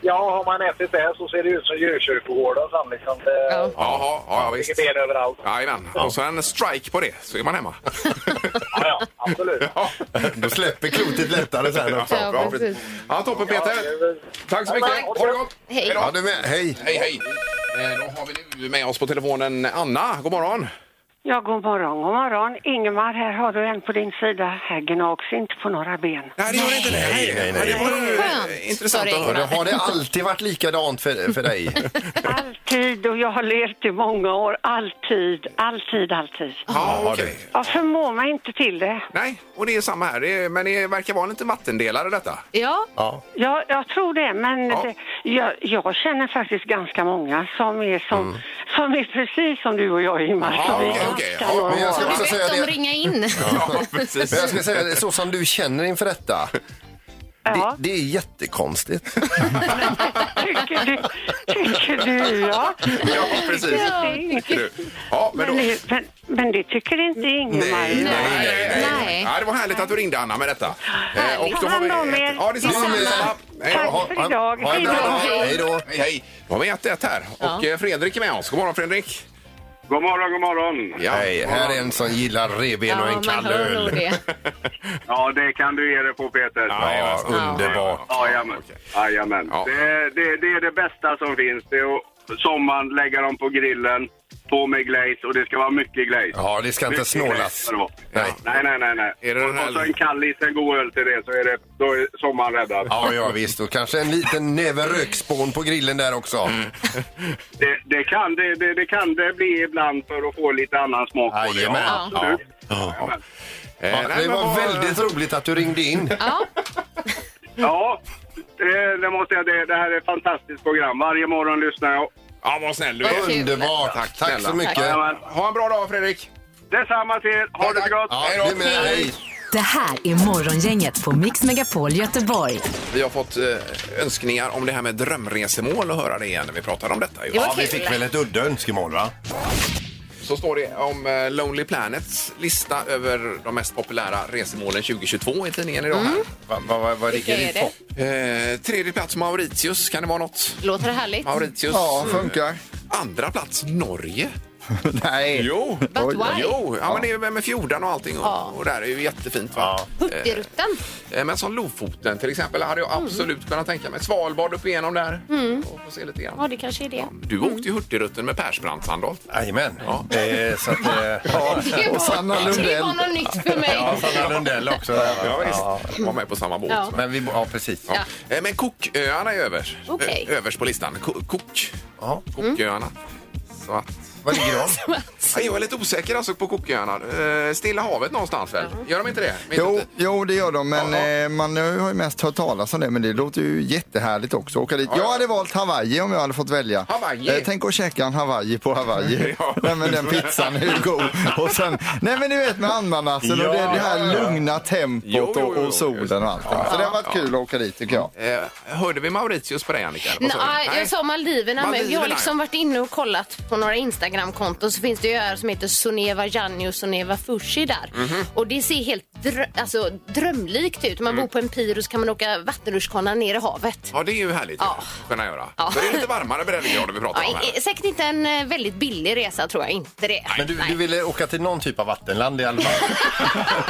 Ja, har man ätit det så ser det ut som djurkyrkogården sen liksom. Det Ja. Jaha, ja ligger visst. ben överallt. Jajamän. Och så en strike på det, så är man [laughs] hemma. Ja, ja, absolut. [laughs] Ja, Då släpper klotet lättare sen också. Ja, bra. precis. Ja, toppen Ja, Peter! det är väl- Tack så mycket! Tack. Ha det gott! Hej. då. Ja, du med. Hej! Hej, hej! Eh, Då har vi nu med oss på telefonen Anna. God morgon! Ja, god morgon, god morgon. Ingemar, här har du en på din sida. Här gnags inte på några ben. Nej, det gör inte det. Nej, nej, nej. Det var ju Skönt, Eh, intressant sa att det. Och det höra. har det alltid varit likadant för, för dig? Alltid, och jag har levt i många år. Alltid, alltid, alltid. Ja, okej. Jag förmår mig inte till det. Nej, och det är samma här. Det är, men det verkar vara en liten vattendelare detta. Ja, Ja. Jag, jag tror det, men Ja. det, jag, jag känner faktiskt ganska många som är, som, som är precis som du och jag, Ingemar. Mm. Ja, som är okej, [laughs] okej. ganska Ja, men jag normala. ska- det Jag ska är säga bättre det. att [laughs] ringa in. Ja, precis. Men jag ska säga det, så som du känner inför detta. Ja. Det, det är jättekonstigt. [laughs] Tycker du, tycker du ja. Ja, precis. Det är inget- Du. Ja, men då... Men det, men, men det tycker inte Ingemar. Nej, nej, nej, nej. Nej. Ja, det var härligt att du ringde Anna med detta. Eh, Härligt. då har vi Ta hand om ett- er. Ja, detsamma. Detsamma. detsamma. Hej Tack då. Ha- för idag. Ha en bra dag. Hej då. Hej då. Hej, hej. Då har vi 1-1 här och eh, Fredrik är med oss. God morgon Fredrik. God morgon, god morgon. Ja, Hej, här är en som gillar revben och en man kall hör nog öl. det. Ja, det kan du ge dig på, Peter. Ja, underbart. Ja, Jajamän. Jajamän. Ja. Det, det, det är det bästa som finns. Det är att sommaren lägga dem på grillen, på med glaze och det ska vara mycket glaze. Ja, det ska inte Mycket glaze snålas. ska det vara. Nej. Nej, nej, nej. nej. Är det den här- Och så en kall liten god öl till det så är, det, då är sommaren räddad. Ja, ja visst. Och kanske en liten näve rökspån på grillen där också. Mm. Det, det, kan, det, det, det kan det bli ibland för att få lite annan smak på det. Jajamän. Ja, absolut. Ja. Jajamän. Eh, Ja, nej, det men var vad- väldigt roligt att du ringde in. Ja, Ja, det, det måste jag säga. Det, det här är ett fantastiskt program. Varje morgon lyssnar jag. Ja, vad snäll du är. Underbart. Tack, snälla. så mycket. Jajamän. Ha en bra dag Fredrik. Detsamma till er. Ha det så gott. Ja, det är med. Hej. Det här är Morgongänget på Mix Megapol Göteborg. Vi har fått eh, önskningar om det här med drömresemål och höra det igen när vi pratar om detta. ju. Ja, vi fick väl ett udda önskemål va? Så står det om eh, Lonely Planets lista över de mest populära resemålen 2022 i tidningen idag. Mm. här. Vad va, va, va Vilka ligger i är topp? Eh, tredje plats Mauritius, kan det vara något? Låter det härligt? Mauritius. Ja, funkar. Eh, Andra plats Norge. Nej. Jo, But Oj, why? jo. Ja, Ja. men det är ju med fjordan och allting. Och, Ja. och där är ju jättefint. Va? Eh, Hurtigruten. eh, men som Lofoten till exempel hade Mm. jag absolut kunnat tänka mig. Svalbard upp igenom där. Mm. Och får se lite grann. Ja, det kanske är det. Du åkte ju Hurtigruten med Persbrandt, Sandholt. Jajamän. Eh, så att, [laughs] eh, ja. Det var- Det var något nytt för mig. Ja, Sanna Lundell också. Ja, visst. Var med på samma båt. Ja. Men vi, ja, precis. Ja. Eh, Men Cooköarna är över. Okej. Ö- Överst på listan. Ko- Cook. Cooköarna. Så att... Var ligger de? [laughs] Ja, jag är lite osäker alltså på Cooköarna. Eh, Stilla havet någonstans väl? Gör de inte det? Men Jo, jo, det gör de, men eh, man har ju mest hört talas om det. Men det låter ju jättehärligt också att åka dit. Jag hade valt Hawaii om jag hade fått välja. Hawaii? Eh, tänk att käka en Hawaii [laughs] på Hawaii. nej, men den pizzan är ju god. Och sen, nej men du vet med ananasen och det, det här lugna tempot och, och solen och allt. Så det har varit kul att åka dit tycker jag. Eh, hörde vi Mauritius på dig Annika? Vad sa du? Nej, jag sa Maldiverna, men jag har Maldiverna, liksom varit inne och kollat på några Instagram-konton så finns det ju öar som heter Soneva Janni och Soneva Fushi där. Mhm. Och det ser helt drö- alltså, drömlikt ut. Man Mm. bor på en pir och så kan man åka vattenrutschkana ner i havet. Ja, det är ju härligt Ja. att kunna göra. Ja. Men det är lite varmare breddgrader vi pratar om Ja, här. i- säkert inte en eh, väldigt billig resa tror jag inte det. Men du, du ville åka till någon typ av vattenland i alla fall? [laughs]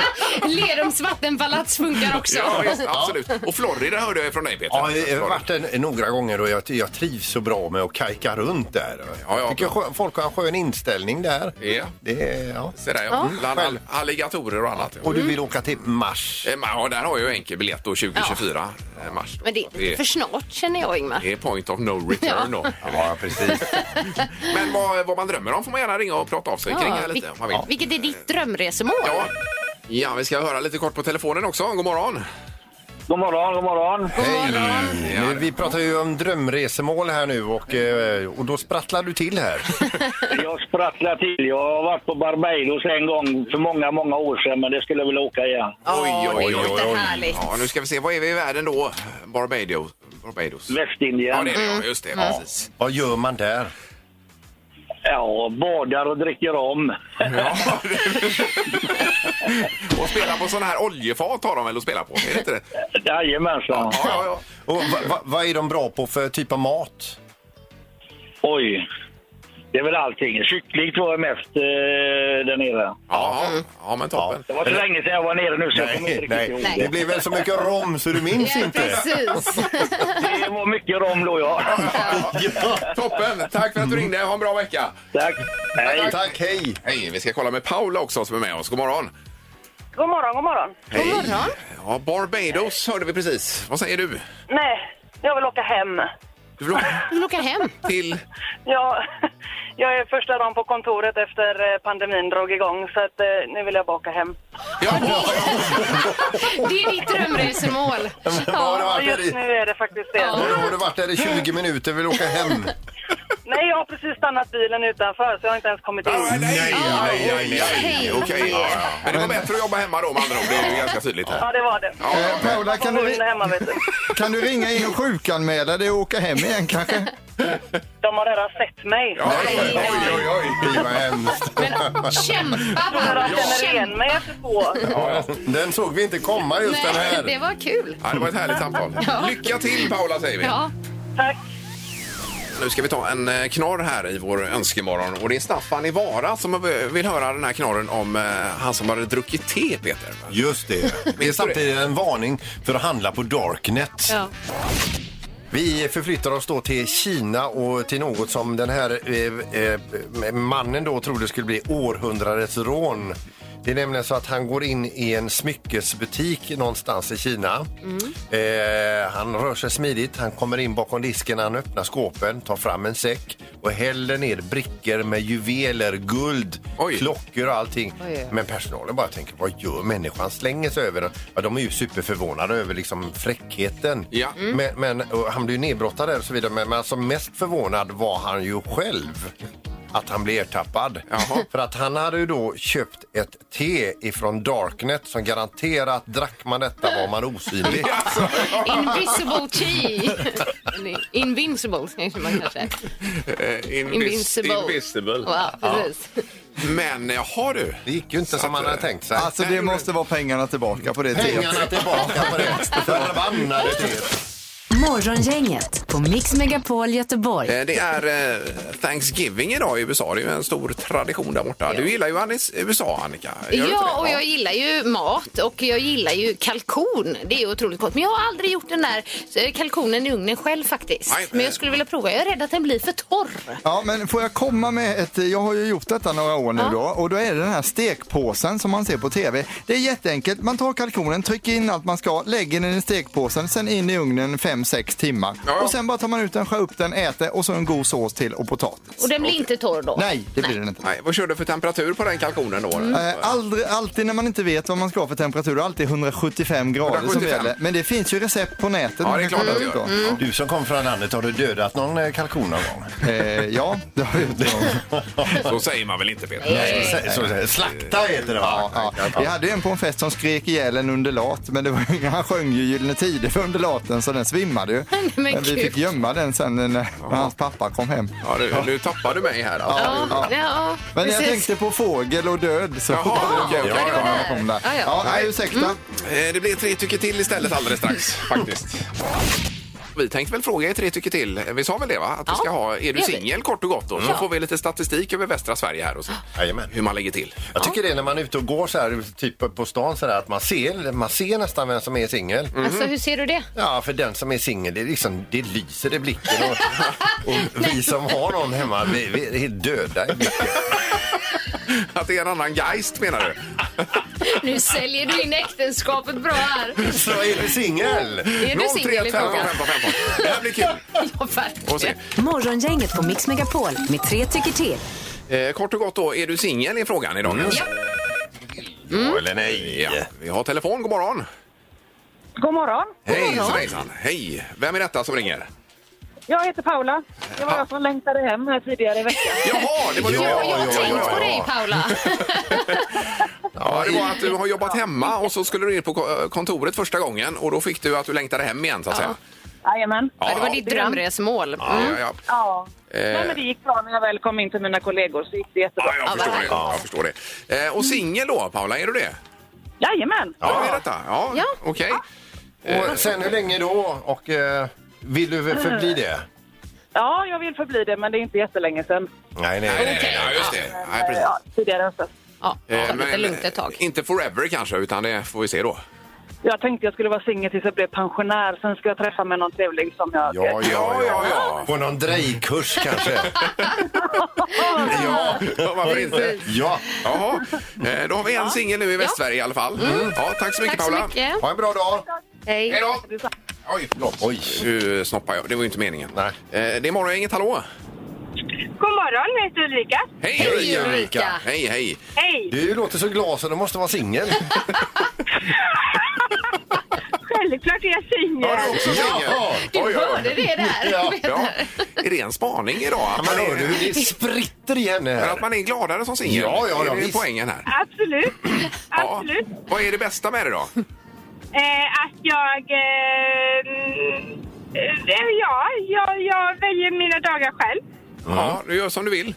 Lerums vattenpalats funkar också. Ja, visst, absolut. Och Florida hörde jag från dig Peter. Ja, jag har varit där några gånger och jag, jag trivs så bra med att kajka runt där. Jag tycker skö- folk har en skön inställning där. Ja. Det är, ja. Se där, ja. Ja. Bland all- alligatorer och annat. Eh, Och du vill åka till Mars? Ja, där har jag ju enkel biljett då 2024. eh, Mars. [laughs] Men det är Det- lite för snart känner jag Ingmar. Det är point of no return Ja. då. Ja, precis. Men vad, vad man drömmer om får man gärna ringa och prata av sig kring här lite om man vill. vil- vilket är ditt drömresemål? Ja, vi ska höra lite kort på telefonen också. God morgon! God morgon, god morgon. Mm, Hej! Nu, vi pratar ju om drömresemål här nu och, eh, och då sprattlar du till här. Jag sprattlar till. Jag har varit på Barbados en gång för många, många år sedan, men det skulle jag vilja åka igen. Oj, oj, oj, låter härligt. Ja, nu ska vi se, vad är vi i världen då? Barbados? Barbados. Västindien. Ja, det är det. ja, Just det, Mm. precis. Vad gör man där? Ja, badar och dricker om. Och spela på sådana här oljefat har de väl att spela på? Är det inte det? Jajamensan. [laughs] Och va, va, vad är de bra på för typ av mat? Oj. Det är väl allting. Kyckling tror jag mest eh, där nere. Ja, ja men toppen. Det var så länge sedan jag var nere nu så jag kommer inte Nej, riktigt ihåg nej. Det blev väl så mycket rom så du minns inte. [laughs] Det var mycket rom då, ja. Toppen! Tack för att du ringde. Ha en bra vecka. Tack. Hej. Tack, hej. Hej. Vi ska kolla med Paula också som är med oss. God morgon. [laughs] God morgon, god morgon. Hej. Ja, Barbados hörde vi precis. Vad säger du? Nej, jag vill åka hem. Du vill åka Du vill åka hem? till... Jag, [laughs] jag är första dagen på kontoret efter eh, pandemin drog igång så att eh, nu vill jag bara åka hem. [laughs] Det är ditt drömresemål. har det varit Ja, där i? just nu är det faktiskt det. Nu har du varit där i 20 minuter vill [laughs] åka hem. Nej, jag har precis stannat bilen utanför så jag har inte ens kommit in. Ah, Nej, Ah, nej, nej, nej. Okej. Ja, ja. Men det var bättre att jobba hemma då med andra ord. Det är ju ganska tydligt här. Ja, det var det. Eh, Paula, kan du, Hon är hemma, vet du. [laughs] kan du ringa in och sjukanmäla dig och åka hem igen kanske? De har redan sett mig. Oj, oj, oj. Fy, vad hemskt. Kämpa De redan bara! känner igen mig efter två. Ja, den såg vi inte komma just den Nej, [laughs] här. det var kul. Ja, det var ett härligt samtal. Ja. Lycka till Paula säger vi. Ja. Tack. Nu ska vi ta en eh, knorr här i vår önskemorgon. Och det är Staffan i Vara som eh, vill höra den här knorren om eh, han som hade druckit te, Peter. Just det. Det är samtidigt en varning för att handla på Darknet. Ja. Vi förflyttar oss då till Kina och till något som den här eh, eh, mannen då trodde skulle bli århundradets rån. Det är nämligen så att han går in i en smyckesbutik någonstans i Kina. Mm. Eh, han rör sig smidigt, han kommer in bakom disken, han öppnar skåpen, tar fram en säck och häller ner brickor med juveler, guld, klockor och allting. Oj. Men personalen bara tänker, vad gör människan? Slänger sig över den. Ja, de är ju superförvånade över liksom fräckheten. Mm. Men, men och han blir ju nedbrottad där och så vidare. Men, men alltså mest förvånad var han ju själv att han blev ertappad. För att han hade ju då köpt ett te ifrån Darknet som garanterat drack man detta var man osynlig. [laughs] [laughs] Invisible tea. Eller Invincible kanske man kan säga. Eh, Invincible. Invisible. Ja, precis. Men jaha du. eh, Det gick ju inte som man hade tänkt sig. Alltså det måste vara pengarna tillbaka på det Pengarna tillbaka på det förbannade teet. Morgongänget på Mix Megapol Göteborg. Eh, Det är eh, Thanksgiving idag i USA. Det är ju en stor tradition där borta. Du gillar ju Annis, USA, Annika. Gör du inte Ja, det? och jag gillar ju mat och jag gillar ju kalkon. Det är otroligt gott. Men jag har aldrig gjort den där eh, kalkonen i ugnen själv faktiskt. Nej, Men jag skulle vilja prova. Jag är rädd att den blir för torr. Ja, men får jag komma med ett... Jag har ju gjort detta några år nu då och då är det den här stekpåsen som man ser på TV. Det är jätteenkelt. Man tar kalkonen, trycker in allt man ska, lägger den i stekpåsen, sen in i ugnen 5-6 timmar. Och sen bara tar man ut den, skär upp den, äter och så en god sås till och potatis. Och den blir inte torr då? Nej, det blir den inte. Nej, vad kör du för temperatur på den kalkonen då? Eh, aldrig, alltid när man inte vet vad man ska ha för temperatur, alltid 175 grader som 175. gäller. Men det finns ju recept på nätet. man kan kolla upp då. Mm. Du som kom från landet, har du dödat någon eh, kalkon någon gång? Eh, ja, det har jag gjort. [laughs] Så säger man väl inte, Peter? Nej, Eh, så- så- slakta heter det va? Ja, ja. Vi hade ju en på en fest som skrek ihjäl en underlat, men det var, ju- [laughs] han sjöng ju Gyllene Tider för underlaten så den svimmade ju. men Men vi gud. fick gömma den sen när när hans pappa kom hem. Ja, du, nu tappar du mig här. Alltså. Ja, ja. ja Men jag precis. tänkte på fågel och död så Jaha, okej, okej. Ja, ja, ja. Kom där. Ja, ja. Ja, nej, Nej. ursäkta. Mm. Eh, Det blir tre tycker till istället alldeles strax faktiskt. Vi tänkte väl fråga er tre tycker till. Vi sa väl det va? Att vi ska ha, är du det gör vi. singel kort och gott då? Så Mm. får vi lite statistik över västra Sverige här och så. Hur man lägger till. Jag tycker det är när man är ute och går så här, typ på stan så där, att man ser, man ser nästan vem som är singel. Mhm. Alltså hur ser du det? Ja, för den som är singel, det, är liksom, det lyser i blicken. [laughs] Och, och vi som har någon hemma, vi, vi är [laughs] döda i blicken. Att det är en annan geist menar du? Nu säljer du in äktenskapet bra här. Så är du singel? Är du singel i 15, frågan? 15, 15. Det här blir kul. Ja, verkligen. Och se. Morgongänget på Mix Megapol med tre tycker till. Eh, kort och gott då, är du singel i frågan idag? Mm. Ja eller nej? Ja. Vi har telefon, god morgon. God morgon. Hej svejsan. Hej! Vem är detta som ringer? Jag heter Paula. Det var jag som längtade hem här tidigare i veckan. Jaha, det var du. Ja, jag har tänkt på dig, Paula. Ja, det var att du har jobbat hemma och så skulle du in på ko- eh, kontoret första gången och då fick du att du längtade hem igen så att säga. Jajamän. Ja, det var ditt drömresmål. Ja, ja, ja. Ja. Eh. Nej, men det gick bra när jag väl kom in till mina kollegor. Så gick det jättebra. Jag förstår det. Ja, jag förstår det. Eh, och singel då, Paula, är du det? Jajamän. Ja, det är detta. Ja, Ja. okej. Och sen hur länge då? Och eh, vill du förbli Eh. det? Ja, jag vill förbli det, men det är inte jättelänge sedan. Nej, nej, nej. nej, ja, just det. Nej, precis. Ja, tidigare än så. Ja, Eh, men, eh, Inte forever kanske, utan det får vi se då. Jag tänkte jag skulle vara singel tills jag blev pensionär. Sen ska jag träffa mig någon trevlig som jag... Ja, ja, ja. ja. På någon drejkurs kanske? [laughs] [laughs] Ja, varför inte? Precis. Ja. Jaha. Eh, Då har vi en singel nu i Västsverige i alla fall. Ja, tack så mycket Tack så Paula. mycket. Ha en bra dag. Hej. Hej då. Oj, förlåt. Oj. Nu snoppade jag. Det var ju inte meningen. Nej. Det är morgon, inget hallå. God morgon, jag heter Ulrika. Hej, Ulrika. Hej, hej. Hej! Du låter så glad så du måste vara singel. Självklart är jag singel. Du hörde det där. Ja, ja. Är det en spaning idag? Att man hör hur det spritter i henne. Men att man är gladare som singel. Ja, ja, ja, Det är visst. poängen här. Absolut. Absolut. Vad är det bästa med det då? Eh, att jag... Eh, mm, eh, ja, jag, jag väljer mina dagar själv. Ja, du gör som du vill.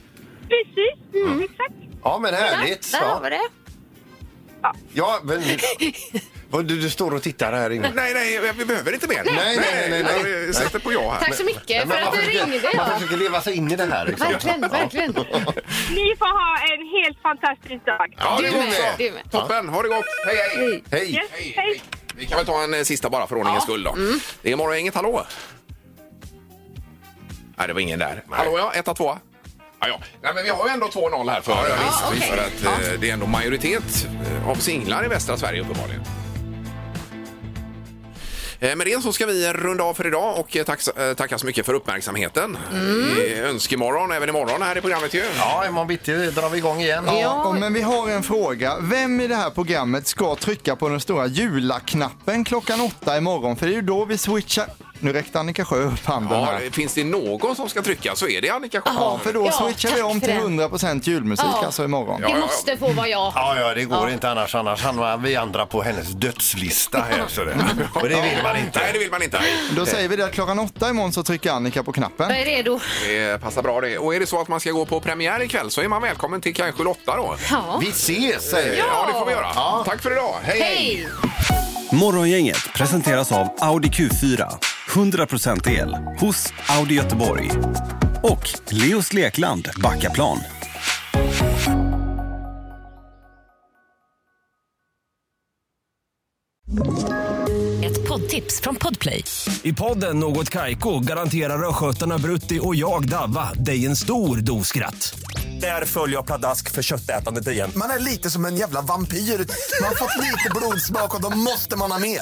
Precis, Mm, exakt. Ja, men härligt. Där, Ja, där har vi det. ja men... Vad Du, du står och tittar här inne. Mm. Nej, nej, vi behöver inte mer. Nej, nej, nej. nej, nej, Jag sätter på ja här. Tack så mycket Men för att man du försöker- ringde. Man Ja. försöker leva sig in i det här. Liksom. Verkligen, verkligen. Ni får ha en helt fantastisk dag. Ja, Du det med, också. du med. Toppen, ha det gott. Hej, hej. Hej. Yes, Mm. hej. Vi kan väl ta en eh, sista bara för ordningens skull då. Det är morgon, inget hallå? Nej, det var ingen där. Hallå ja, etta, tvåa. Ja, ja. Nej, men vi har ju ändå 2-0 här för, ja, visst, okej. för att eh, det är ändå majoritet eh, av singlar i västra Sverige uppenbarligen. Eh, Med det så ska vi runda av för idag och eh, tack, så- eh, tacka så mycket för uppmärksamheten. Mm. Önskemorgon även imorgon här i programmet ju. Ja, imorgon bitti drar vi igång igen. Ja, men vi har en fråga. Vem i det här programmet ska trycka på den stora jula-knappen klockan åtta imorgon? För det är ju då vi switchar... Nu räckte Annika Sjö upp handen Ja, här. finns det någon som ska trycka så är det Annika Sjöholm. Ja, för då Ja, switchar vi tack om för till det. 100% julmusik Ja. alltså imorgon. Det måste få vara jag. Ja, ja, det går inte annars. Annars hamnar vi andra på hennes dödslista här. Så [laughs] det. Och det vill man inte. Nej, det vill man inte. Då säger vi det att klockan åtta imorgon så trycker Annika på knappen. Jag är redo. Det passar Eh, bra det. Och är det så att man ska gå på premiär ikväll så är man välkommen till kanske Lotta då. Ja. Vi ses säger vi. Ja, det får vi göra. Tack för idag. Hej, Hej! Morgongänget presenteras av Audi Q4. 100% el hos Audi Göteborg. Och Leos Lekland Backaplan. Ett poddtips från Podplay. I podden Något Kaiko garanterar östgötarna Brutti och jag, Davva, dig en stor dos skratt. Där följer jag pladask för köttätandet igen. Man är lite som en jävla vampyr. Man har fått lite blodsmak och då måste man ha mer.